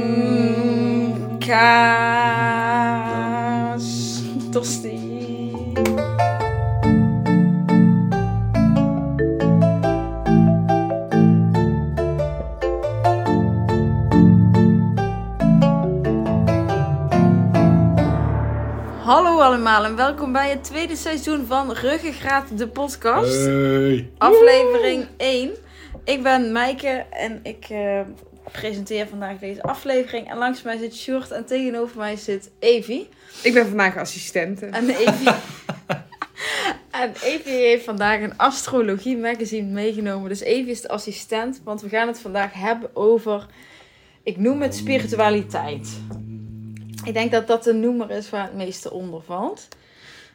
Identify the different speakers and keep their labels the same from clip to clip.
Speaker 1: Ham. Kaas. Tosti. Hallo allemaal en welkom bij het tweede seizoen van Ruggengraat, de podcast.
Speaker 2: Hey.
Speaker 1: Aflevering 1. Ik ben Maaike en ik eh, presenteer vandaag deze aflevering. En langs mij zit Sjoerd en tegenover mij zit Evi.
Speaker 3: Ik ben vandaag assistente.
Speaker 1: En Evi, en Evi heeft vandaag een astrologie magazine meegenomen. Dus Evi is de assistent, want we gaan het vandaag hebben over, ik noem het spiritualiteit. Ik denk dat dat de noemer is waar het meeste onder valt.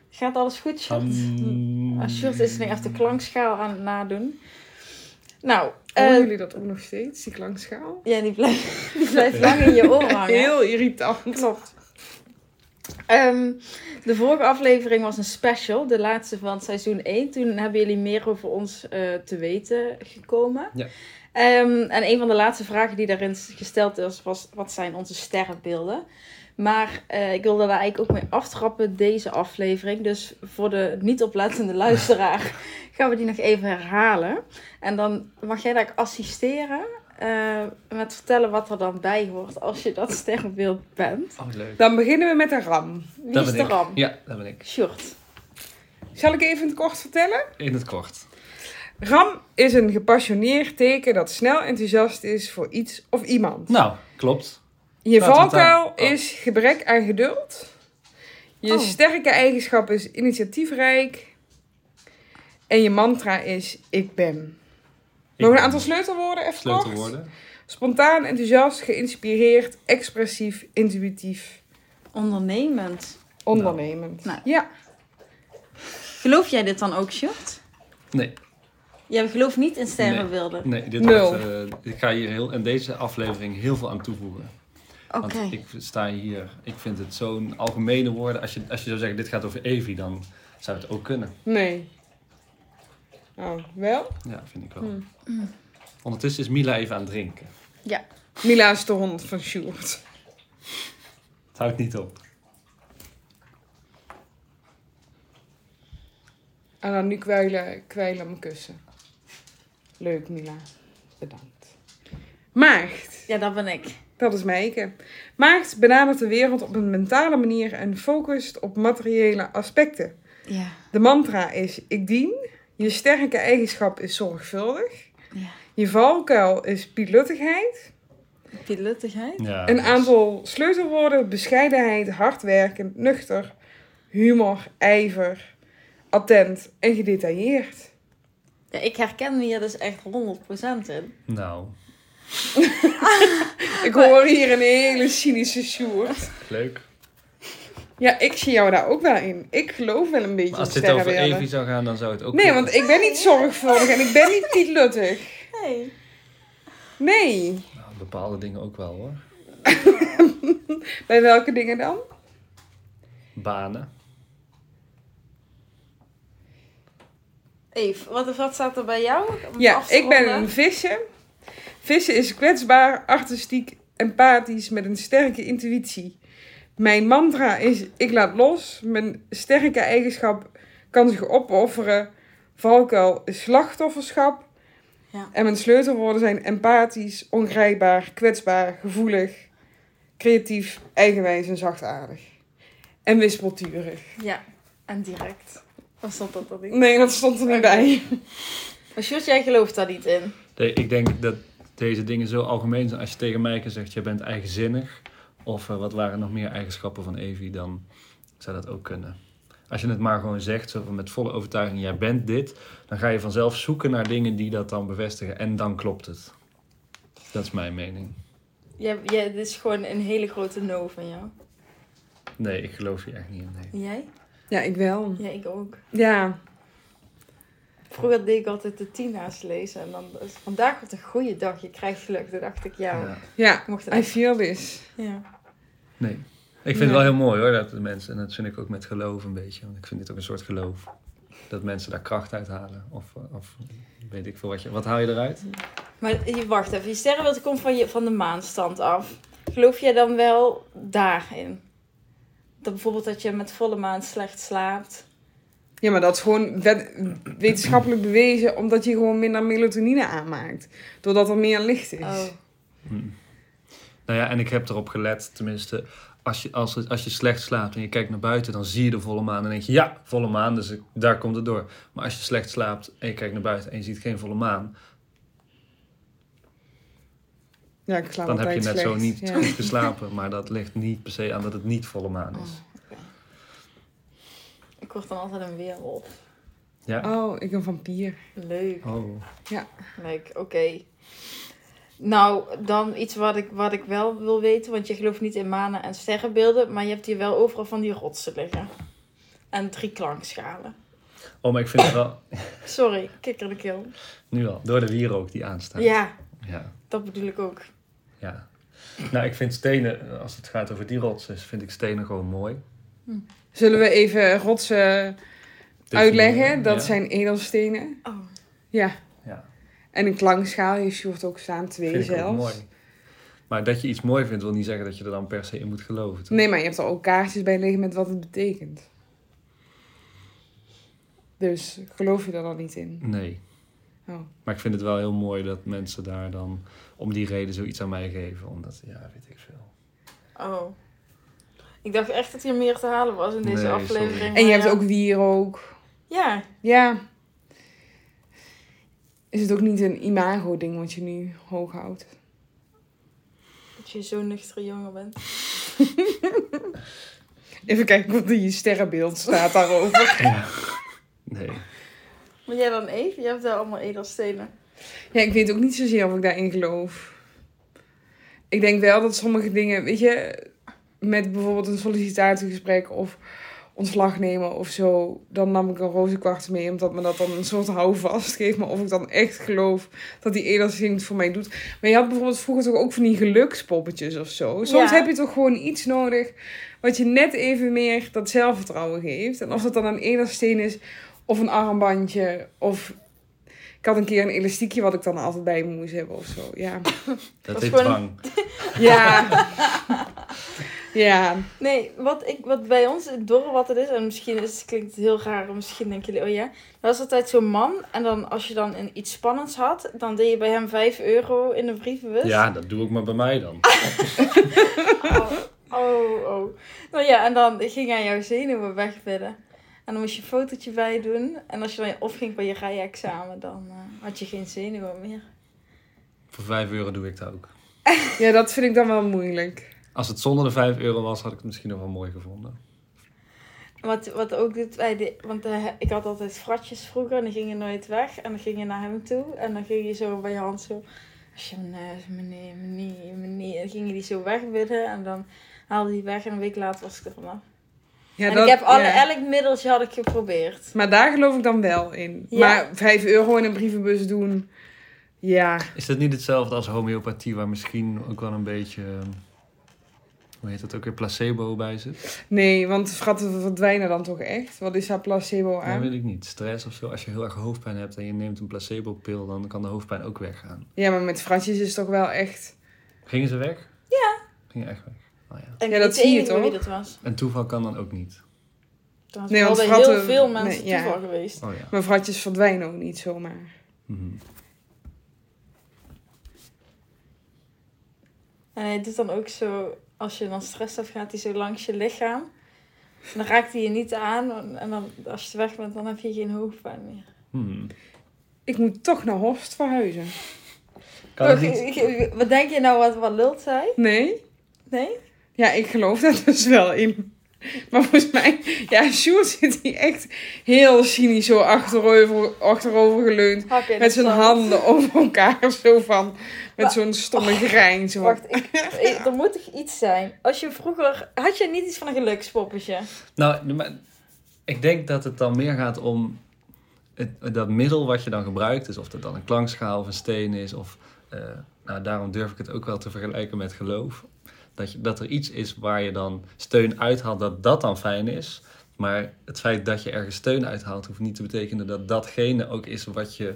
Speaker 1: Gaat alles goed, Sjoerd?
Speaker 2: Ham.
Speaker 1: Ah, Sjoerd is nu echt de klankschaal aan het nadoen. Nou, eh,
Speaker 3: Horen jullie dat ook nog steeds, die klankschaal?
Speaker 1: ja, die blijft, die blijft lang in je oren hangen.
Speaker 3: Heel irritant.
Speaker 1: Klopt. Ehm, de vorige aflevering was een special, de laatste van seizoen 1. Toen hebben jullie meer over ons eh, te weten gekomen.
Speaker 2: Ja.
Speaker 1: Ehm, en een van de laatste vragen die daarin gesteld is, was: wat zijn onze sterrenbeelden? Maar eh, ik wilde daar eigenlijk ook mee aftrappen, deze aflevering. Dus voor de niet-oplettende luisteraar gaan we die nog even herhalen. En dan mag jij daar assisteren eh, met vertellen wat er dan bij hoort als je dat sterrenbeeld bent.
Speaker 2: Oh, leuk.
Speaker 3: Dan beginnen we met de ram.
Speaker 1: Wie
Speaker 2: Dat
Speaker 1: is
Speaker 2: ben
Speaker 1: de
Speaker 2: ik.
Speaker 1: ram?
Speaker 2: Ja, dat ben ik.
Speaker 1: Sjoerd.
Speaker 3: Zal ik even in het kort vertellen?
Speaker 2: In het kort.
Speaker 3: Ram is een gepassioneerd teken dat snel enthousiast is voor iets of iemand.
Speaker 2: Nou, klopt.
Speaker 3: Je
Speaker 2: laten we het
Speaker 3: valkuil
Speaker 2: daar- oh.
Speaker 3: is gebrek aan geduld. Je
Speaker 1: Oh.
Speaker 3: sterke eigenschap is initiatiefrijk. En je mantra is ik ben. Nog een
Speaker 2: ben
Speaker 3: aantal sleutelwoorden even kort?
Speaker 2: sleutelwoorden.
Speaker 3: Spontaan, enthousiast, geïnspireerd, expressief, intuïtief,
Speaker 1: Ondernemend.
Speaker 3: ondernemend.
Speaker 1: Nou.
Speaker 3: Ja.
Speaker 1: Geloof jij dit dan ook, Sjoerd?
Speaker 2: Nee,
Speaker 1: Jij gelooft niet in sterrenbeelden.
Speaker 2: nee dit
Speaker 3: Nul.
Speaker 2: wordt, eh, ik ga hier heel, in deze aflevering heel veel aan toevoegen.
Speaker 1: Oké.
Speaker 2: Want ik sta hier, ik vind het zo'n algemene woorden. Als je, als je zou zeggen, dit gaat over Evi, dan zou het ook kunnen.
Speaker 3: Nee. Oh, wel?
Speaker 2: Ja, vind ik wel.
Speaker 3: Hmm.
Speaker 2: Ondertussen is Mila even aan het drinken.
Speaker 3: Mila is de hond van Sjoerd.
Speaker 2: Het houdt niet op.
Speaker 3: En dan nu kwijlen, kwijlen aan mijn kussen. Leuk, Mila. Bedankt. Maagd.
Speaker 1: Ja, dat ben ik.
Speaker 3: Dat is Meike. Maagd benadert de wereld op een mentale manier en focust op materiële aspecten.
Speaker 1: Ja.
Speaker 3: De mantra is ik dien. Je sterke eigenschap is zorgvuldig.
Speaker 1: ja.
Speaker 3: Je valkuil is pilotigheid.
Speaker 1: Piluttigheid.
Speaker 2: Ja,
Speaker 3: Een
Speaker 2: dus-
Speaker 3: aantal sleutelwoorden: bescheidenheid, hard werken, nuchter, humor, ijver, attent en gedetailleerd.
Speaker 1: Ja, ik herken me hier dus echt 100% in.
Speaker 2: Nou,
Speaker 3: Ik hoor hier een hele cynische Sjoerd.
Speaker 2: leuk.
Speaker 3: Ja, ik zie jou daar ook wel in. Ik geloof wel een beetje
Speaker 2: Maar als
Speaker 3: in
Speaker 2: dit over
Speaker 3: sterrenbeelden.
Speaker 2: Evi zou gaan, dan zou het ook
Speaker 3: Nee, want ik ben niet zorgvuldig en ik ben niet pietluttig.
Speaker 1: Hey.
Speaker 3: Nee.
Speaker 2: Nou, bepaalde dingen ook wel hoor.
Speaker 3: Bij welke dingen dan?
Speaker 2: Banen.
Speaker 1: Eve, wat, wat staat er bij jou? Om
Speaker 3: Ja,
Speaker 1: af te
Speaker 3: ik ben
Speaker 1: ronden.
Speaker 3: een visje. Vissen is kwetsbaar, artistiek, empathisch met een sterke intuïtie. Mijn mantra is: ik laat los. Mijn sterke eigenschap kan zich opofferen. Valkuil is slachtofferschap.
Speaker 1: Ja.
Speaker 3: En mijn sleutelwoorden zijn empathisch, ongrijpbaar, kwetsbaar, gevoelig, creatief, eigenwijs en zachtaardig. En wispelturig.
Speaker 1: Ja, en direct. Wat stond dat dan niet?
Speaker 3: Nee, dat stond er niet bij.
Speaker 1: Maar Sjoerd, jij gelooft daar niet in.
Speaker 2: Nee, ik denk dat deze dingen zo algemeen zijn. Als je tegen Mijke zegt, jij bent eigenzinnig. Of eh, wat waren nog meer eigenschappen van Evi, dan zou dat ook kunnen. Als je het maar gewoon zegt, zo van met volle overtuiging, jij bent dit. Dan ga je vanzelf zoeken naar dingen die dat dan bevestigen. En dan klopt het. Dat is mijn mening.
Speaker 1: Jij, jij, dit is gewoon een hele grote no van jou.
Speaker 2: Nee, ik geloof hier echt niet in. Nee.
Speaker 1: En jij?
Speaker 3: Ja, ik wel.
Speaker 1: Ja, ik ook.
Speaker 3: Ja.
Speaker 1: Vroeger deed ik altijd de tina's lezen. En dan, vandaag wordt een goede dag, je krijgt geluk. Toen dacht ik, ja,
Speaker 2: Ja.
Speaker 3: Ja.
Speaker 1: ik mocht het
Speaker 3: I
Speaker 1: echt.
Speaker 3: feel this.
Speaker 1: Ja.
Speaker 2: Nee. Ik vind
Speaker 3: Nee.
Speaker 2: het wel heel mooi hoor, dat de mensen, en dat vind ik ook met geloof een beetje, want ik vind dit ook een soort geloof. Dat mensen daar kracht uit halen. Of, eh, of weet ik veel wat je. Wat haal je eruit?
Speaker 1: Maar je wacht even, je sterrenbeeld komt van, je, van de maanstand af. Geloof jij dan wel daarin? Dat bijvoorbeeld dat je met volle maan slecht slaapt.
Speaker 3: Ja, maar dat is gewoon wet- wetenschappelijk bewezen, omdat je gewoon minder melatonine aanmaakt. Doordat er meer licht is.
Speaker 1: Oh.
Speaker 2: Mm. Nou ja, en ik heb erop gelet, tenminste, als je, als, het- als je slecht slaapt en je kijkt naar buiten, dan zie je de volle maan en denk je, ja, volle maan, dus ik- daar komt het door. Maar als je slecht slaapt en je kijkt naar buiten en je ziet geen volle maan,
Speaker 3: Ja, ik slaap
Speaker 2: dan heb je
Speaker 3: altijd
Speaker 2: net zo
Speaker 3: slecht.
Speaker 2: niet
Speaker 3: Ja.
Speaker 2: goed geslapen. Maar dat ligt niet per se aan dat het niet volle maan is.
Speaker 1: Ik word dan altijd een weerwolf.
Speaker 2: Ja?
Speaker 3: Oh, ik een vampier.
Speaker 1: Leuk.
Speaker 2: Oh.
Speaker 1: Leuk, oké. Nou, dan iets wat ik, wat ik wel wil weten, want je gelooft niet in manen en sterrenbeelden, maar je hebt hier wel overal van die rotsen liggen. En drie klankschalen.
Speaker 2: oh, maar ik vind het wel,
Speaker 1: Sorry, kikker de keel.
Speaker 2: nu al, door de wierook die aanstaat.
Speaker 1: Ja,
Speaker 2: Ja,
Speaker 1: dat bedoel ik ook.
Speaker 2: ja. Nou, ik vind stenen, als het gaat over die rotsen, vind ik stenen gewoon mooi.
Speaker 3: Zullen we even rotsen
Speaker 2: De
Speaker 3: uitleggen?
Speaker 2: vier,
Speaker 3: Dat
Speaker 2: ja.
Speaker 3: zijn edelstenen.
Speaker 1: Oh,
Speaker 3: Ja.
Speaker 2: Ja.
Speaker 3: En een klankschaal heeft Sjoerd ook staan, twee
Speaker 2: Vind ik ook
Speaker 3: zelfs.
Speaker 2: mooi. Maar dat je iets mooi vindt, wil niet zeggen dat je er dan per se in moet geloven. toch?
Speaker 3: Nee, maar je hebt er ook kaartjes bij liggen met wat het betekent. Dus geloof je er dan niet in?
Speaker 2: Nee.
Speaker 3: Oh.
Speaker 2: Maar ik vind het wel heel mooi dat mensen daar dan om die reden zoiets aan mij geven. Omdat, ja, weet ik veel.
Speaker 1: oh. Ik dacht echt dat hier meer te halen was in deze
Speaker 2: Nee,
Speaker 1: aflevering.
Speaker 2: sorry.
Speaker 1: maar
Speaker 3: En je hebt
Speaker 1: ja.
Speaker 3: ook wierook.
Speaker 1: Ja,
Speaker 3: Ja. Is het ook niet een imago-ding wat je nu hoog houdt?
Speaker 1: dat je zo'n nuchtere jongen bent.
Speaker 3: Even kijken of die sterrenbeeld staat daarover.
Speaker 2: Nee.
Speaker 1: Maar jij dan even? Je hebt daar allemaal edelstenen.
Speaker 3: ja, ik weet ook niet zozeer of ik daarin geloof. Ik denk wel dat sommige dingen, weet je, met bijvoorbeeld een sollicitatiegesprek of ontslag nemen of zo, dan nam ik een rozenkwart mee, omdat me dat dan een soort houvast geeft. Maar of ik dan echt geloof dat die edelsteen het voor mij doet. Maar je had bijvoorbeeld vroeger toch ook van die gelukspoppetjes of zo. Soms
Speaker 1: Ja.
Speaker 3: heb je toch gewoon iets nodig wat je net even meer dat zelfvertrouwen geeft. En of dat dan een edelsteen is of een armbandje of... Ik had een keer een elastiekje wat ik dan altijd bij me moest hebben of zo. Ja.
Speaker 2: Dat
Speaker 1: is
Speaker 2: heet
Speaker 1: gewoon-
Speaker 2: dwang.
Speaker 3: Ja. ja.
Speaker 1: Nee, wat, ik, wat bij ons in het dorp wat het is, en misschien is, klinkt het heel raar, misschien denken jullie, oh ja. Er was altijd zo'n man, en dan als je dan een, iets spannends had, dan deed je bij hem 5 euro in de brievenbus.
Speaker 2: Ja, dat doe ik maar bij mij dan.
Speaker 1: Oh, oh, oh. Nou ja, en dan ging hij jouw zenuwen wegbidden. En dan moest je een fotootje bij doen. En als je dan opging bij je rijexamen, dan eh, had je geen zenuwen meer.
Speaker 2: Voor 5 euro doe ik dat ook.
Speaker 3: ja, dat vind ik dan wel moeilijk.
Speaker 2: Als het zonder de 5 euro was, had ik het misschien nog wel mooi gevonden.
Speaker 1: Wat, wat ook doet bij de. Want eh, ik had altijd fratjes vroeger en die gingen nooit weg. En dan ging je naar hem toe en dan ging je zo bij je hand zo. Alsje, meneer, eh, meneer, meneer, meneer. En dan ging je die zo wegbidden en dan haalde die weg en een week later was ik er vanaf.
Speaker 3: Ja,
Speaker 1: en
Speaker 3: dat-
Speaker 1: ik heb alle,
Speaker 3: ja.
Speaker 1: elk middeltje had ik geprobeerd.
Speaker 3: Maar daar geloof ik dan wel in.
Speaker 1: Ja.
Speaker 3: Maar 5 euro in een brievenbus doen. Ja.
Speaker 2: Is dat niet hetzelfde als homeopathie, waar misschien ook wel een beetje, eh, hoe heet dat ook weer, placebo bij zit?
Speaker 3: Nee, want schatten verdwijnen dan toch echt? Wat is daar placebo
Speaker 2: Dat
Speaker 3: aan?
Speaker 2: weet ik niet. Stress of zo. Als je heel erg hoofdpijn hebt en je neemt een placebo-pil, dan kan de hoofdpijn ook weggaan.
Speaker 3: Ja, maar met fratjes is toch wel echt.
Speaker 2: Gingen ze weg? Ja. Gingen echt weg. Oh, ja.
Speaker 1: En
Speaker 3: Ja, dat
Speaker 1: ik weet
Speaker 3: zie je
Speaker 1: niet meer
Speaker 3: toch?
Speaker 1: wie dat was.
Speaker 2: En toeval kan dan ook niet.
Speaker 1: Dat was
Speaker 3: Nee,
Speaker 1: wel
Speaker 3: want
Speaker 1: bij
Speaker 3: fratten-
Speaker 1: heel veel mensen
Speaker 3: nee, ja.
Speaker 1: toeval geweest.
Speaker 2: Oh ja.
Speaker 3: Maar fratjes verdwijnen ook niet zomaar.
Speaker 2: Mhm.
Speaker 1: En hij doet dan ook zo, als je dan stress hebt, gaat hij zo langs je lichaam. En dan raakt hij je niet aan. En dan, als je weg bent, dan heb je geen hoofdpijn meer.
Speaker 2: Hmm.
Speaker 3: Ik moet toch naar Horst verhuizen.
Speaker 2: Kan het niet?
Speaker 1: Ik- ik- Wat denk je nou wat, wat lult zij?
Speaker 3: Nee?
Speaker 1: Nee?
Speaker 3: Ja, ik geloof daar dus wel in. Maar volgens mij, ja, Sjoerd zit hier echt heel cynisch zo achterover, achterover geleund.
Speaker 1: Hak in
Speaker 3: Met zijn
Speaker 1: het zand.
Speaker 3: handen over elkaar zo van. Met
Speaker 1: Maar-
Speaker 3: zo'n stomme grijns. zo.
Speaker 1: Wacht, ik, ik- er moet toch iets zijn. Als je vroeger... Had je niet iets van een gelukspoppetje?
Speaker 2: Nou, maar ik denk dat het dan meer gaat om het, dat middel wat je dan gebruikt. Dus of dat dan een klankschaal of een steen is. Of, eh, nou, daarom durf ik het ook wel te vergelijken met geloof. Dat, je, dat er iets is waar je dan steun uithaalt, dat dat dan fijn is. Maar het feit dat je ergens steun uithaalt, hoeft niet te betekenen dat datgene ook is wat je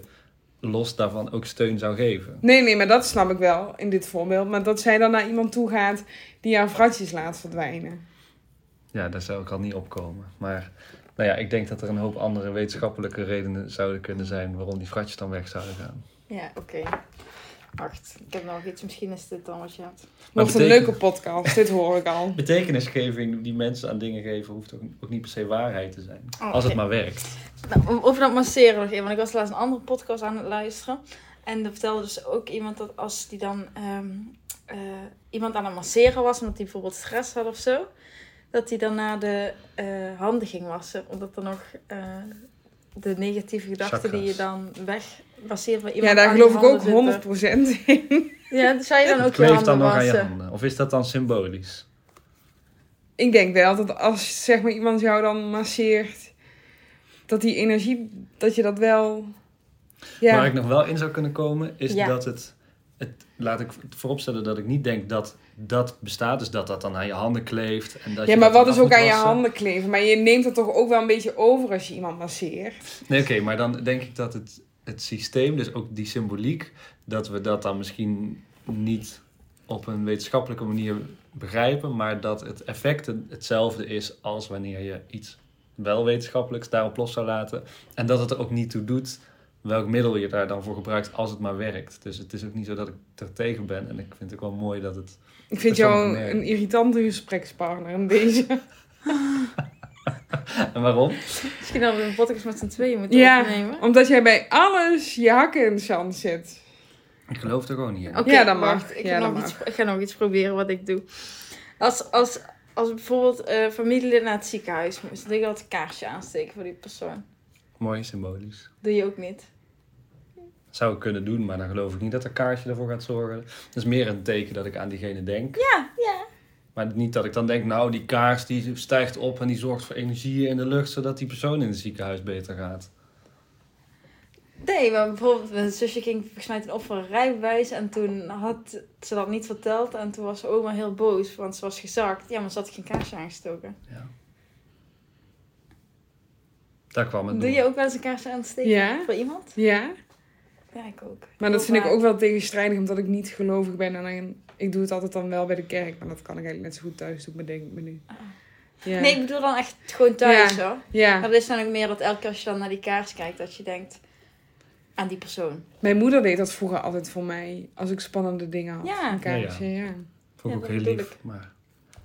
Speaker 2: los daarvan ook steun zou geven.
Speaker 3: Nee, nee, maar dat snap ik wel in dit voorbeeld. Maar dat zij dan naar iemand toe gaat die haar vratjes laat verdwijnen.
Speaker 2: Ja, daar zou ik al niet op komen. Maar nou ja, ik denk dat er een hoop andere wetenschappelijke redenen zouden kunnen zijn waarom die fratjes dan weg zouden gaan.
Speaker 1: Ja, oké. Wacht, ik heb nog iets. Misschien is dit dan wat je had.
Speaker 2: Maar
Speaker 3: Wat een
Speaker 2: betekent-
Speaker 3: leuke podcast, dit hoor ik al.
Speaker 2: Betekenisgeving die mensen aan dingen geven, hoeft ook, ook niet per se waarheid te zijn.
Speaker 1: Oh,
Speaker 2: Als het
Speaker 1: oké.
Speaker 2: maar werkt.
Speaker 1: Nou, over dat masseren nog even. Want ik was laatst een andere podcast aan het luisteren. En er vertelde dus ook iemand dat als die dan ehm, eh, iemand aan het masseren was, omdat die bijvoorbeeld stress had of zo, dat die dan naar de eh, handen ging wassen. Omdat er nog eh, de negatieve gedachten die je dan weg masseert bij
Speaker 3: Ja,
Speaker 1: iemand.
Speaker 3: daar
Speaker 1: aan die
Speaker 3: geloof ik ook
Speaker 1: handen zitten.
Speaker 3: 100% in.
Speaker 1: Ja, dan zou je dan ook je
Speaker 2: Kleef
Speaker 1: handen
Speaker 2: dan nog aan je
Speaker 1: wassen.
Speaker 2: handen. Of is dat dan symbolisch?
Speaker 3: Ik denk wel dat als zeg maar, iemand jou dan masseert, dat die energie, dat je dat wel. Ja,
Speaker 2: Waar ik nog wel in zou kunnen komen, is
Speaker 1: Ja.
Speaker 2: dat het, het... Laat ik vooropstellen dat ik niet denk dat dat bestaat. Dus dat dat dan aan je handen kleeft. En dat
Speaker 3: ja
Speaker 2: je
Speaker 3: maar
Speaker 2: dat
Speaker 3: wat
Speaker 2: dan
Speaker 3: is
Speaker 2: af
Speaker 3: ook
Speaker 2: moet
Speaker 3: aan je
Speaker 2: wassen.
Speaker 3: handen kleven? Maar je neemt dat toch ook wel een beetje over als je iemand masseert.
Speaker 2: Nee, oké, maar dan denk ik dat het, het systeem, dus ook die symboliek, dat we dat dan misschien niet op een wetenschappelijke manier begrijpen, maar dat het effect het- hetzelfde is als wanneer je iets wel wetenschappelijks daarop los zou laten. En dat het er ook niet toe doet welk middel je daar dan voor gebruikt, als het maar werkt. Dus het is ook niet zo dat ik er tegen ben. En ik vind het ook wel mooi dat het...
Speaker 3: Ik vind
Speaker 2: Dat kan ik
Speaker 3: jou een,
Speaker 2: merken.
Speaker 3: een irritante gesprekspartner in deze.
Speaker 2: En waarom?
Speaker 1: Misschien dat we een podcast met z'n tweeën moeten
Speaker 3: Ja,
Speaker 1: opnemen.
Speaker 3: omdat jij bij alles je hakken in het zand zit.
Speaker 2: Ik geloof er gewoon niet in.
Speaker 1: Oké,
Speaker 3: Ja, dat mag.
Speaker 1: wacht. Ik,
Speaker 3: Ja,
Speaker 1: ga
Speaker 3: dat
Speaker 1: nog
Speaker 3: mag.
Speaker 1: iets, ik ga nog iets proberen wat ik doe. Als, als, als bijvoorbeeld eh familielid naar het ziekenhuis moest, dan denk ik altijd een kaarsje aansteken voor die persoon.
Speaker 2: Mooi, symbolisch.
Speaker 1: Doe je ook niet.
Speaker 2: zou ik kunnen doen, maar dan geloof ik niet dat er kaartje ervoor gaat zorgen. Dat is meer een teken dat ik aan diegene denk.
Speaker 1: Ja, ja.
Speaker 2: Maar niet dat ik dan denk, nou, die kaars die stijgt op en die zorgt voor energie in de lucht, zodat die persoon in het ziekenhuis beter gaat.
Speaker 1: Nee, maar bijvoorbeeld mijn zusje ging volgens mij toen op voor een rijbewijs en toen had ze dat niet verteld en toen was oma heel boos, want ze was gezakt. Ja, maar ze had geen kaarsje aangestoken.
Speaker 2: Daar kwam het
Speaker 1: Doe
Speaker 2: door.
Speaker 1: je ook wel eens een kaarsje aansteken
Speaker 3: Ja.
Speaker 1: voor iemand?
Speaker 3: Ja,
Speaker 1: Ja, ik ook.
Speaker 3: maar dat vind ik
Speaker 1: vaak.
Speaker 3: ook wel tegenstrijdig, omdat ik niet gelovig ben. En dan- ik doe het altijd dan wel bij de kerk, maar dat kan ik eigenlijk net zo goed thuis doen, bedenk ik me nu. Ja.
Speaker 1: Ah. Nee, ik bedoel dan echt gewoon thuis hoor.
Speaker 3: ja.
Speaker 1: Maar dat is dan ook meer dat elke keer als je dan naar die kaars kijkt, dat je denkt aan die persoon.
Speaker 3: Mijn moeder deed dat vroeger altijd voor mij. Als ik spannende dingen had.
Speaker 1: Ja.
Speaker 3: Een kaartje, ja. ja.
Speaker 2: Vond
Speaker 1: Ja,
Speaker 2: ik ook
Speaker 1: dat
Speaker 2: heel
Speaker 1: bedoel
Speaker 2: lief. Maar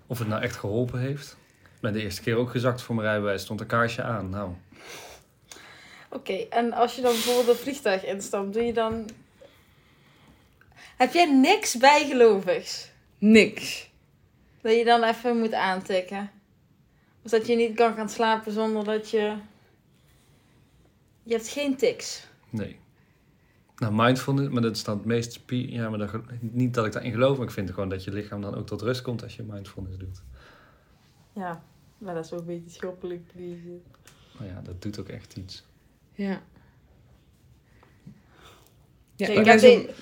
Speaker 2: of het nou echt geholpen heeft? Ik ben de eerste keer ook gezakt voor mijn rijbewijs, stond een kaarsje aan. Nou,
Speaker 1: Oké, en als je dan bijvoorbeeld een vliegtuig instapt, doe je dan. Heb jij niks bijgelovigs
Speaker 3: Niks.
Speaker 1: dat je dan even moet aantikken? Of dat je niet kan gaan slapen zonder dat je. Je hebt geen tics.
Speaker 2: nee. Nou, mindfulness, maar dat is dan het meest... spie- Ja, maar dat ge- niet dat ik daarin geloof, maar ik vind gewoon dat je lichaam dan ook tot rust komt als je mindfulness doet.
Speaker 1: Ja, maar dat is ook een beetje schoppelijk.
Speaker 2: Nou ja, dat doet ook echt iets.
Speaker 3: Ja.
Speaker 1: Ja,
Speaker 3: Ja,
Speaker 1: ik,
Speaker 3: ik
Speaker 1: heb
Speaker 3: ben zo...
Speaker 1: de-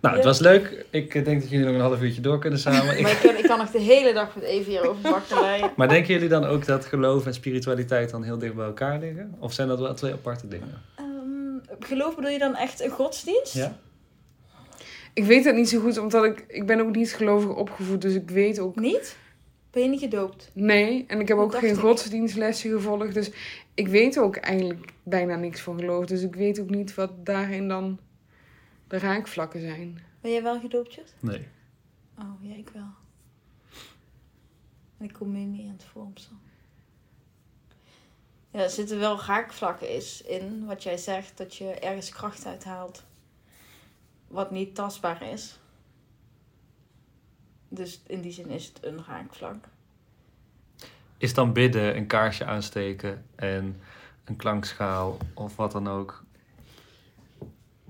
Speaker 2: Nou, het
Speaker 1: Ja.
Speaker 2: was leuk. Ik eh, denk dat jullie nog een half uurtje door kunnen samen.
Speaker 1: maar
Speaker 2: Ik-
Speaker 1: ik kan, ik kan nog de hele dag met Evie hierover bakkeleien.
Speaker 2: maar denken jullie dan ook dat geloof en spiritualiteit dan heel dicht bij elkaar liggen? Of zijn dat wel twee aparte dingen?
Speaker 1: Ehm geloof bedoel je dan echt een godsdienst?
Speaker 2: Ja?
Speaker 3: ik weet dat niet zo goed, omdat ik... Ik ben ook niet gelovig opgevoed, dus ik weet ook...
Speaker 1: Niet? Ben je niet gedoopt?
Speaker 3: Nee, en ik heb
Speaker 1: Dat
Speaker 3: ook
Speaker 1: dacht
Speaker 3: geen
Speaker 1: ik.
Speaker 3: godsdienstlessen gevolgd. Dus ik weet ook eigenlijk bijna niks van geloof. Dus ik weet ook niet wat daarin dan de raakvlakken zijn.
Speaker 1: Ben jij wel gedoopt, Jut?
Speaker 2: Nee.
Speaker 1: Oh, ja, ik wel. En ik kom nu niet aan het vormsel. Ja, er zitten wel raakvlakken is in wat jij zegt, dat je ergens kracht uithaalt. Wat niet tastbaar is. Dus in die zin is het een raakvlak.
Speaker 2: Is dan bidden, een kaarsje aansteken en een klankschaal of wat dan ook...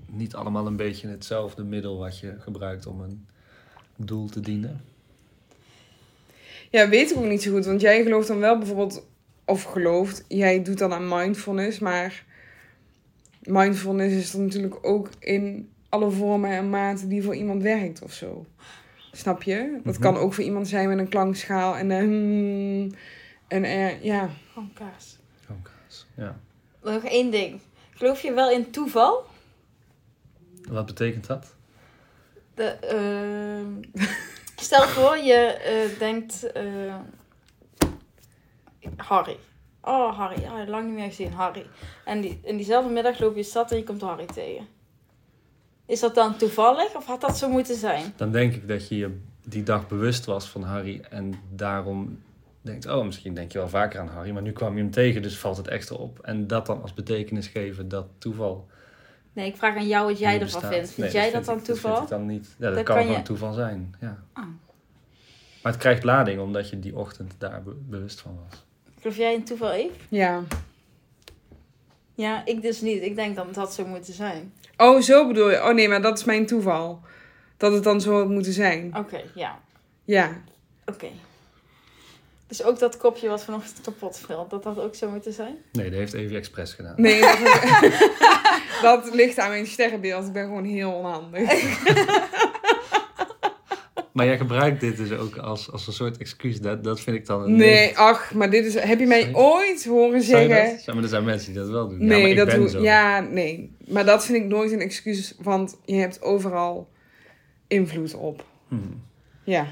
Speaker 2: niet allemaal een beetje hetzelfde middel wat je gebruikt om een doel te dienen?
Speaker 3: Ja, weet ik ook niet zo goed. Want jij gelooft dan wel bijvoorbeeld, of gelooft, jij doet dan aan mindfulness. Maar mindfulness is dan natuurlijk ook in alle vormen en maten die voor iemand werkt of zo. Snap je? Dat
Speaker 2: Mhm.
Speaker 3: kan ook voor iemand zijn met een klankschaal en een hmm, en er, ja.
Speaker 1: Gewoon kaas.
Speaker 2: Oh, Gewoon kaas. Ja.
Speaker 1: Nog één ding. Geloof je wel in toeval?
Speaker 2: Wat betekent dat?
Speaker 1: De, ehm, stel voor, je eh, denkt... eh, Harry. Oh, Harry. Ah, lang niet meer gezien. Harry. En die, in diezelfde middag loop je de stad en je komt Harry tegen. Is dat dan toevallig of had dat zo moeten zijn?
Speaker 2: Dan denk ik dat je je die dag bewust was van Harry en daarom denkt, oh, misschien denk je wel vaker aan Harry, maar nu kwam je hem tegen, dus valt het extra op. En dat dan als betekenis geven, dat toeval.
Speaker 1: Nee, ik vraag aan jou wat jij
Speaker 2: niet
Speaker 1: ervan
Speaker 2: bestaat.
Speaker 1: vindt. Vind
Speaker 2: Nee,
Speaker 1: jij dat,
Speaker 2: vind
Speaker 1: dan
Speaker 2: ik-
Speaker 1: toeval?
Speaker 2: Dat vind ik dan niet. Ja, dat,
Speaker 1: Dat
Speaker 2: kan,
Speaker 1: kan
Speaker 2: gewoon
Speaker 1: je-
Speaker 2: toeval zijn, ja.
Speaker 1: Ah.
Speaker 2: Maar het krijgt lading omdat je die ochtend daar be- bewust van was.
Speaker 1: Geloof jij in toeval, Eve?
Speaker 3: Ja.
Speaker 1: Ja, ik dus niet. Ik denk dat dat zou moeten zijn.
Speaker 3: Oh, zo bedoel je. Oh nee, maar dat is mijn toeval. Dat het dan zo had moeten zijn.
Speaker 1: Oké, ja.
Speaker 3: Ja.
Speaker 1: Oké. Dus ook dat kopje wat vanochtend kapot viel, dat dat ook zou moeten zijn?
Speaker 2: Nee, dat heeft Evie expres gedaan.
Speaker 3: Nee, dat, dat ligt aan mijn sterrenbeeld. Ik ben gewoon heel onhandig.
Speaker 2: Maar jij gebruikt dit dus ook als, als een soort excuus. Dat, dat vind ik dan een
Speaker 3: Nee, ach, maar dit is... Heb je mij
Speaker 2: Sorry.
Speaker 3: ooit horen
Speaker 2: Zou je
Speaker 3: zeggen...
Speaker 2: dat? Ja, maar er zijn mensen die dat wel doen. ja,
Speaker 3: Nee,
Speaker 2: maar ik
Speaker 3: dat
Speaker 2: ben
Speaker 3: doe-
Speaker 2: zo.
Speaker 3: Ja, nee. Maar dat vind ik nooit een excuus, want je hebt overal invloed op.
Speaker 2: Hm.
Speaker 3: Ja.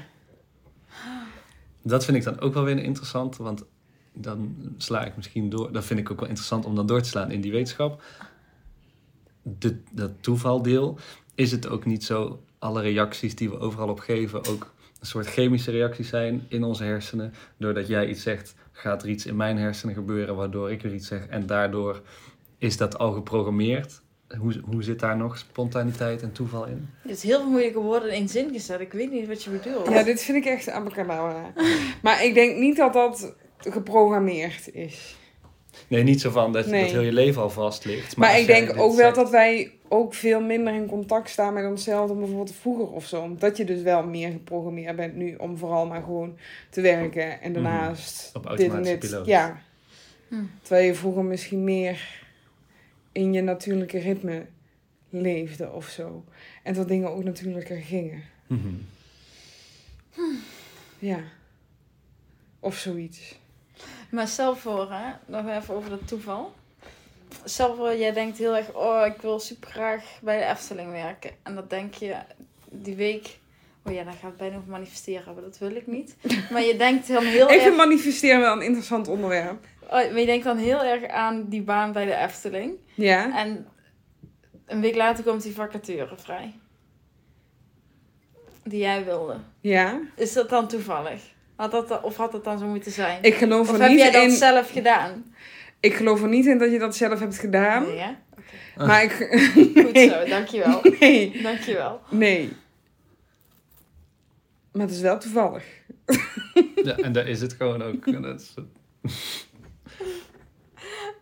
Speaker 2: Dat vind ik dan ook wel weer interessant, want dan sla ik misschien door. Dat vind ik ook wel interessant om dan door te slaan in die wetenschap. De, dat toevaldeel, is het ook niet zo alle reacties die we overal op geven ook een soort chemische reacties zijn in onze hersenen? Doordat jij iets zegt, gaat er iets in mijn hersenen gebeuren waardoor ik weer iets zeg en daardoor is dat al geprogrammeerd? Hoe, hoe zit daar nog spontaniteit en toeval in?
Speaker 1: Dit is heel veel moeilijke woorden in één zin gezet. Ik weet niet wat je bedoelt.
Speaker 3: Ja, dit vind ik echt abacadabra. Maar ik denk niet dat dat geprogrammeerd is.
Speaker 2: Nee, niet zo van dat,
Speaker 3: Nee.
Speaker 2: dat heel je leven al vast ligt.
Speaker 3: Maar,
Speaker 2: als
Speaker 3: ik
Speaker 2: jij
Speaker 3: denk
Speaker 2: dit
Speaker 3: ook wel
Speaker 2: zegt-
Speaker 3: dat wij ook veel minder in contact staan met onszelf dan bijvoorbeeld vroeger of zo. Omdat je dus wel meer geprogrammeerd bent nu om vooral maar gewoon te werken en daarnaast
Speaker 2: Mhm. Op
Speaker 3: dit en
Speaker 2: automatische
Speaker 3: dit.
Speaker 2: piloot.
Speaker 3: Ja.
Speaker 1: Hm.
Speaker 3: Terwijl je vroeger misschien meer in je natuurlijke ritme leefde of zo. En dat dingen ook natuurlijker gingen.
Speaker 2: Mhm.
Speaker 3: Ja. Of zoiets.
Speaker 1: Maar stel voor, hè, nog even over dat toeval. Stel voor, jij denkt heel erg, oh, ik wil super graag bij de Efteling werken. En dat denk je die week, oh ja, dan gaat het bijna over manifesteren, maar dat wil ik niet. Maar je denkt dan heel
Speaker 3: Ik
Speaker 1: erg...
Speaker 3: vind manifesteren wel een interessant onderwerp.
Speaker 1: Oh, maar je denkt dan heel erg aan die baan bij de Efteling.
Speaker 3: Ja.
Speaker 1: En een week later komt die vacature vrij. Die jij wilde.
Speaker 3: Ja.
Speaker 1: Is dat dan toevallig? Had dat, dan- of had dat dan zo moeten zijn?
Speaker 3: Ik geloof,
Speaker 1: of
Speaker 3: er
Speaker 1: heb
Speaker 3: niet
Speaker 1: jij dat
Speaker 3: in,
Speaker 1: zelf gedaan?
Speaker 3: ik geloof er niet in dat je dat zelf hebt gedaan.
Speaker 1: Nee, hè?
Speaker 3: Maar ik...
Speaker 1: Goed
Speaker 3: Nee.
Speaker 1: zo, dankjewel.
Speaker 3: Nee.
Speaker 1: Dankjewel.
Speaker 3: Nee. Maar het is wel toevallig.
Speaker 2: Ja, en daar is het gewoon ook. En dat is-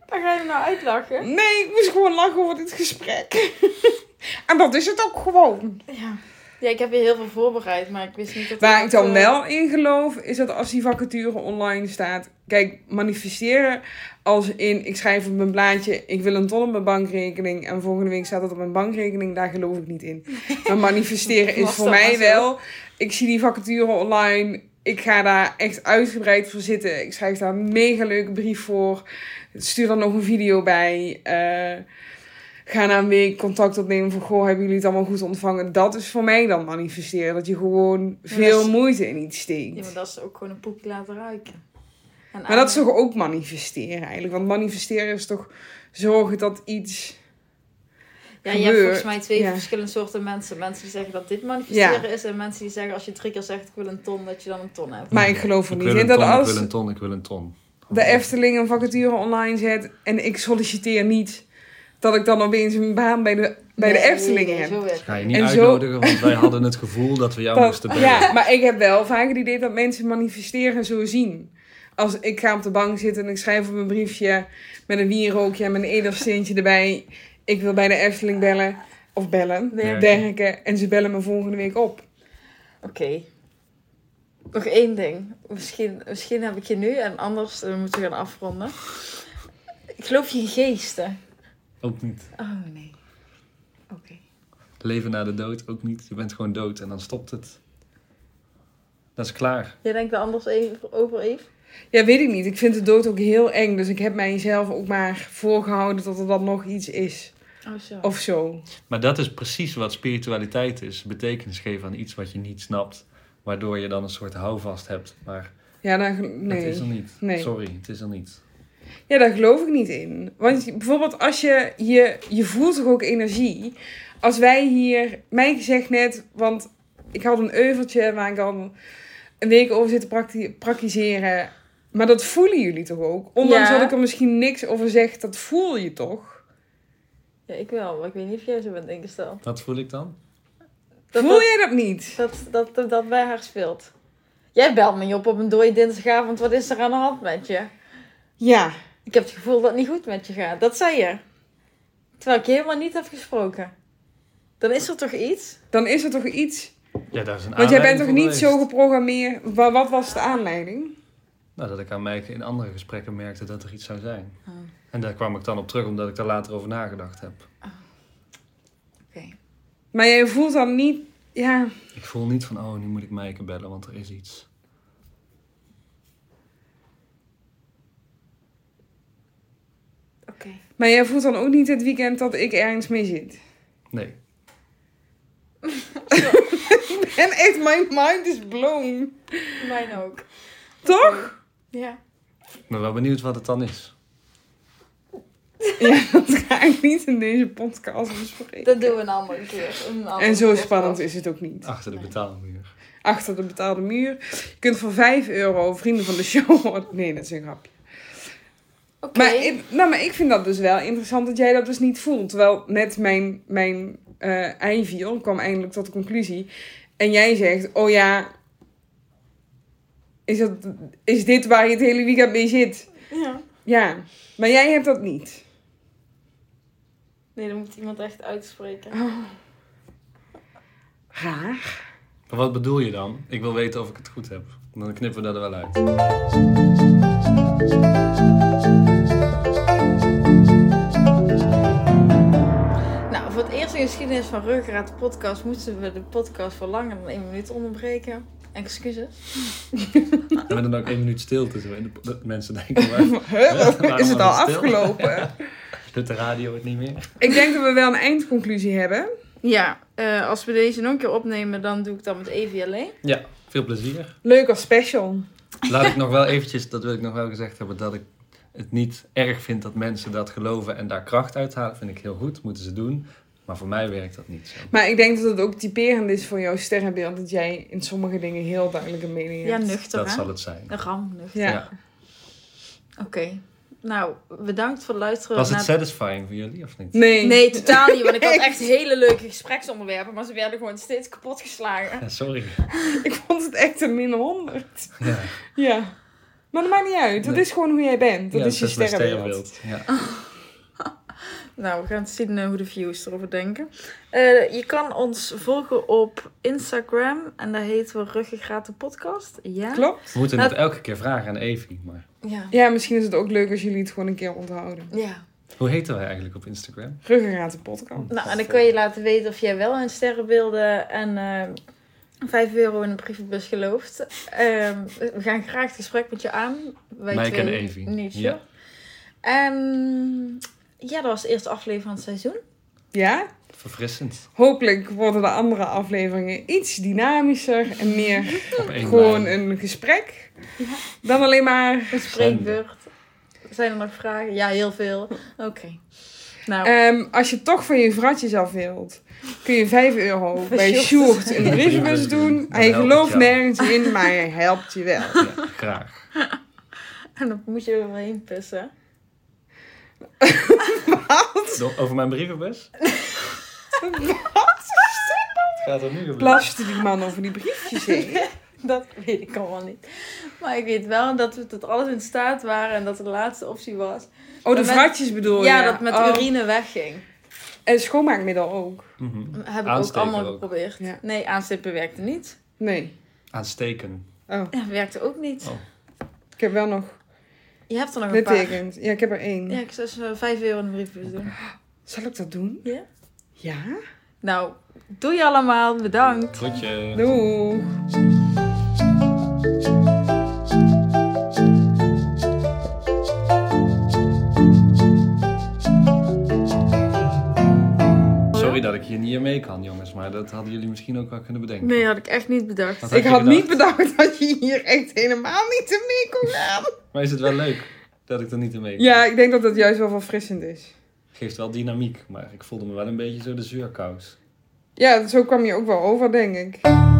Speaker 1: Waar ga je me nou uitlachen?
Speaker 3: Nee, ik moest gewoon lachen over dit gesprek. en dat is het ook gewoon.
Speaker 1: Ja. ja, ik heb hier heel veel voorbereid, maar ik wist niet dat...
Speaker 3: Waar ik
Speaker 1: dat,
Speaker 3: dan
Speaker 1: eh,
Speaker 3: wel in geloof, is dat als die vacature online staat... Kijk, manifesteren als in... Ik schrijf op mijn blaadje, ik wil een ton op mijn bankrekening... en volgende week staat dat op mijn bankrekening. Daar geloof ik niet in. Maar manifesteren is
Speaker 1: Was
Speaker 3: voor
Speaker 1: dat
Speaker 3: mij
Speaker 1: maar zo.
Speaker 3: wel... Ik zie die vacature online... Ik ga daar echt uitgebreid voor zitten. Ik schrijf daar een mega leuke brief voor. Stuur dan nog een video bij. Eh, ga na een week contact opnemen van... Goh, hebben jullie het allemaal goed ontvangen? Dat is voor mij dan manifesteren. Dat je gewoon veel
Speaker 1: dat is-
Speaker 3: moeite in iets
Speaker 1: Ja, maar
Speaker 3: steekt.
Speaker 1: dat is ook gewoon een poepje laten ruiken. En
Speaker 3: Maar dat is toch ook manifesteren eigenlijk? Want manifesteren is toch zorgen dat iets...
Speaker 1: Ja, je hebt volgens
Speaker 3: gebeurt.
Speaker 1: mij twee
Speaker 3: Ja.
Speaker 1: verschillende soorten mensen. Mensen die zeggen dat dit manifesteren is en mensen die zeggen als je drie keer zegt ik wil een ton, dat je dan een ton hebt.
Speaker 3: Maar ik geloof er
Speaker 2: Ik
Speaker 3: niet
Speaker 2: wil een
Speaker 3: in dat
Speaker 2: ton, ik
Speaker 3: als
Speaker 2: wil een ton, ik wil een ton.
Speaker 3: de Efteling een vacature online zet... en ik solliciteer niet... dat ik dan opeens een baan bij de, bij de
Speaker 1: Nee,
Speaker 3: Efteling
Speaker 1: nee,
Speaker 3: heb.
Speaker 1: zo werkt
Speaker 2: Ga
Speaker 1: het
Speaker 2: je
Speaker 1: niet.
Speaker 2: niet
Speaker 3: En zo-
Speaker 2: uitnodigen, want wij hadden het gevoel dat we jou
Speaker 3: Dat-
Speaker 2: moesten bellen.
Speaker 3: ja, maar ik heb wel vaak het idee dat mensen manifesteren zo zien. Als ik ga op de bank zitten en ik schrijf op een briefje met een wierookje en mijn edelsteentje erbij. Ik wil bij de Efteling bellen. Of bellen,
Speaker 2: Werken.
Speaker 3: derken. En ze bellen me volgende week op.
Speaker 1: Oké. Nog één ding. Misschien, misschien heb ik je nu en anders eh, moeten we gaan afronden. Ik geloof je in geesten.
Speaker 2: Ook niet.
Speaker 1: Oh nee. Oké.
Speaker 2: Leven na de dood, ook niet. Je bent gewoon dood en dan stopt het. Dat is klaar.
Speaker 1: Jij denkt er anders even over, Eve?
Speaker 3: Ja, weet ik niet. Ik vind de dood ook heel eng. Dus ik heb mijzelf ook maar voorgehouden dat er dan nog iets is.
Speaker 1: Oh, zo.
Speaker 3: of zo.
Speaker 2: Maar dat is precies wat spiritualiteit is. Betekenis geven aan iets wat je niet snapt. Waardoor je dan een soort houvast hebt. Maar
Speaker 3: Ja, daar, gel- nee.
Speaker 2: het is er niet.
Speaker 3: Nee.
Speaker 2: Sorry, het is er niet.
Speaker 3: ja, daar geloof ik niet in. Want je- bijvoorbeeld als je, je, je voelt toch ook energie. Als wij hier, mij zegt net, want ik had een euveltje waar ik dan een week over zit te prakti- praktiseren. Maar dat voelen jullie toch ook? Ondanks
Speaker 1: Ja.
Speaker 3: dat ik er misschien niks over zeg, dat voel je toch?
Speaker 1: Ja, ik wel, maar ik weet niet of jij zo bent ingesteld.
Speaker 2: Wat voel ik dan?
Speaker 1: Dat,
Speaker 3: voel jij dat niet?
Speaker 1: dat, dat, dat, dat bij haar speelt. Jij belt me op op een dode dinsdagavond. Wat is er aan de hand met je?
Speaker 3: Ja.
Speaker 1: Ik heb het gevoel dat het niet goed met je gaat. Dat zei je. Terwijl ik je helemaal niet heb gesproken. Dan is er toch iets?
Speaker 3: Dan is er toch iets.
Speaker 2: Ja, daar is een
Speaker 3: Want jij
Speaker 2: aanleiding
Speaker 3: bent toch
Speaker 2: voor
Speaker 3: niet zo
Speaker 2: geweest?
Speaker 3: geprogrammeerd. Wa- Wat was de aanleiding?
Speaker 2: Nou, dat ik aan mij in andere gesprekken merkte dat er iets zou zijn.
Speaker 1: Oh.
Speaker 2: En daar kwam ik dan op terug omdat ik daar later over nagedacht heb.
Speaker 1: Oké.
Speaker 3: Maar jij voelt dan niet. Ja.
Speaker 2: Ik voel niet van, oh, nu moet ik Maaike bellen, want er is iets.
Speaker 1: Oké.
Speaker 3: Maar jij voelt dan ook niet het weekend dat ik ergens mee zit.
Speaker 2: Nee.
Speaker 3: En echt, my mind is blown.
Speaker 1: Mijn ook.
Speaker 3: Toch?
Speaker 1: Ja.
Speaker 2: Ik ben wel benieuwd wat het dan is.
Speaker 3: Ja, dat ga ik niet in deze podcast bespreken.
Speaker 1: Dat doen we een andere keer. Een andere
Speaker 3: En zo
Speaker 1: podcast.
Speaker 3: spannend is het ook niet.
Speaker 2: Achter de
Speaker 1: Nee.
Speaker 2: betaalmuur.
Speaker 3: Achter de betaalde muur. Je kunt voor 5 euro vrienden van de show worden. Nee, dat is een grapje.
Speaker 1: Oké.
Speaker 3: Maar, ik, nou, maar ik vind dat dus wel interessant dat jij dat dus niet voelt. Terwijl net mijn, mijn eh eivier kwam eindelijk tot de conclusie. En jij zegt, oh ja, is, dat, is dit waar je het hele weekend mee zit?
Speaker 1: Ja.
Speaker 3: Ja, maar jij hebt dat niet.
Speaker 1: Nee, dan moet iemand echt uitspreken.
Speaker 3: Raar.
Speaker 2: Maar wat bedoel je dan? Ik wil weten of ik het goed heb. Dan knippen we dat er wel uit.
Speaker 1: Nou, voor het eerst in de geschiedenis van Ruggengraat de podcast moesten we de podcast voor langer dan één minuut onderbreken. Excuses.
Speaker 2: En met dan ook één minuut stilte. Zo. in de- dat mensen denken, maar
Speaker 3: Huh?
Speaker 2: Waarom
Speaker 3: Is het al
Speaker 2: was het stil?
Speaker 3: afgelopen?
Speaker 2: doet de radio het niet meer?
Speaker 3: Ik denk dat we wel een eindconclusie hebben.
Speaker 1: Ja, eh, als we deze nog een keer opnemen, dan doe ik dat met Evie alleen.
Speaker 2: Ja, veel plezier.
Speaker 3: Leuk als special.
Speaker 2: Laat ik nog wel eventjes, dat wil ik nog wel gezegd hebben, dat ik het niet erg vind dat mensen dat geloven en daar kracht uithalen. Vind ik heel goed, moeten ze doen. Maar voor mij werkt dat niet zo.
Speaker 3: Maar ik denk dat het ook typerend is voor jouw sterrenbeeld. Dat jij in sommige dingen heel duidelijke mening
Speaker 1: Ja,
Speaker 3: hebt.
Speaker 1: nuchter
Speaker 2: Dat
Speaker 1: hè?
Speaker 2: zal het zijn.
Speaker 1: Een ram nuchter.
Speaker 3: Ja.
Speaker 1: Oké. Nou, bedankt voor het luisteren.
Speaker 2: Was het
Speaker 1: naar-
Speaker 2: satisfying voor jullie of niet?
Speaker 3: nou- Nee.
Speaker 1: Nee, totaal niet, want ik had echt hele leuke gespreksonderwerpen, maar ze werden gewoon steeds kapotgeslagen.
Speaker 2: Ja, sorry.
Speaker 3: Ik vond het echt een min 100.
Speaker 2: Ja,
Speaker 3: Ja. Maar dat maakt niet uit. Dat
Speaker 2: Nee.
Speaker 3: is gewoon hoe jij bent. Dat
Speaker 2: Ja,
Speaker 3: is je
Speaker 2: mijn
Speaker 3: sterrenbeeld.
Speaker 2: sterrenbeeld.
Speaker 1: Nou, we gaan zien eh, hoe de views erover denken. Eh, je kan ons volgen op Instagram en daar heet we Ruggengraat de podcast. Ja?
Speaker 3: Klopt?
Speaker 2: We moeten
Speaker 1: Nou,
Speaker 2: het elke keer vragen aan Evie, maar
Speaker 1: Ja.
Speaker 3: Ja, misschien is het ook leuk als jullie het gewoon een keer onthouden.
Speaker 1: Ja.
Speaker 2: hoe heten wij eigenlijk op Instagram?
Speaker 3: Ruggengraat de podcast.
Speaker 1: Nou, en dan kun je laten weten of jij wel in sterrenbeelden en eh 5 euro in de brievenbus gelooft. Ehm, we gaan graag het gesprek met je aan. Wij
Speaker 2: Mike en
Speaker 1: twee
Speaker 2: Evie.
Speaker 1: Niet,
Speaker 2: Ja.
Speaker 1: ja. En ja, dat was de eerste aflevering van het seizoen.
Speaker 3: Ja?
Speaker 2: Verfrissend.
Speaker 3: Hopelijk worden de andere afleveringen iets dynamischer en meer
Speaker 2: Op één
Speaker 3: gewoon
Speaker 2: lijn.
Speaker 3: een gesprek.
Speaker 1: Ja.
Speaker 3: Dan alleen maar.
Speaker 1: Een spreekbeurt. Zijn er nog vragen? Ja, heel veel. Oké. Nou,
Speaker 3: ehm, als je toch van je vratjes af wilt, kun je 5 euro
Speaker 1: Van
Speaker 3: bij
Speaker 1: Sjoerd.
Speaker 3: Sjoerd in de brievenbus doen.
Speaker 2: Dan
Speaker 3: Hij
Speaker 2: helpt het
Speaker 3: gelooft
Speaker 2: jou.
Speaker 3: nergens in, maar hij helpt je wel.
Speaker 2: Ja, graag.
Speaker 1: en dan moet je er doorheen pissen.
Speaker 2: Door- Over mijn brievenbus? Het gaat er nu gebeuren.
Speaker 3: Plaste die man over die briefjes heen.
Speaker 1: Dat weet ik allemaal niet. Maar ik weet wel dat we tot alles in staat waren en dat de laatste optie was.
Speaker 3: Oh, de
Speaker 1: Dat met-
Speaker 3: vratjes bedoel je?
Speaker 1: ja, dat met
Speaker 3: Oh.
Speaker 1: urine wegging.
Speaker 3: En schoonmaakmiddel ook.
Speaker 2: Mhm.
Speaker 1: Heb ik ook
Speaker 2: Aansteken
Speaker 1: allemaal
Speaker 2: ook.
Speaker 1: geprobeerd.
Speaker 3: Ja.
Speaker 1: Nee, aanstippen werkte niet.
Speaker 3: Nee.
Speaker 2: Aansteken.
Speaker 3: Oh,
Speaker 1: Ja, werkte ook niet.
Speaker 2: Oh.
Speaker 3: ik heb wel nog
Speaker 1: Je hebt er nog Oh, een paar.
Speaker 3: littekens. Ja, ik heb er één.
Speaker 1: Ja, ik zou ze 5 euro in de briefbus doen.
Speaker 3: Zal ik dat doen?
Speaker 1: Ja.
Speaker 3: Ja?
Speaker 1: Nou, doei allemaal. Bedankt.
Speaker 2: Groetje.
Speaker 3: Doei.
Speaker 2: hier mee kan, jongens. Maar dat hadden jullie misschien ook wel kunnen bedenken.
Speaker 1: Nee, had ik echt niet bedacht.
Speaker 2: Wat
Speaker 3: Ik
Speaker 2: je
Speaker 3: had
Speaker 2: gedacht?
Speaker 3: niet bedacht dat je hier echt helemaal niet te mee kon gaan.
Speaker 2: Maar is het wel leuk dat ik er niet in mee kan?
Speaker 3: Ja, ik denk dat dat juist wel verfrissend is.
Speaker 2: Geeft wel dynamiek, maar ik voelde me wel een beetje zo de zuurkous.
Speaker 3: Ja, zo kwam je ook wel over, denk ik.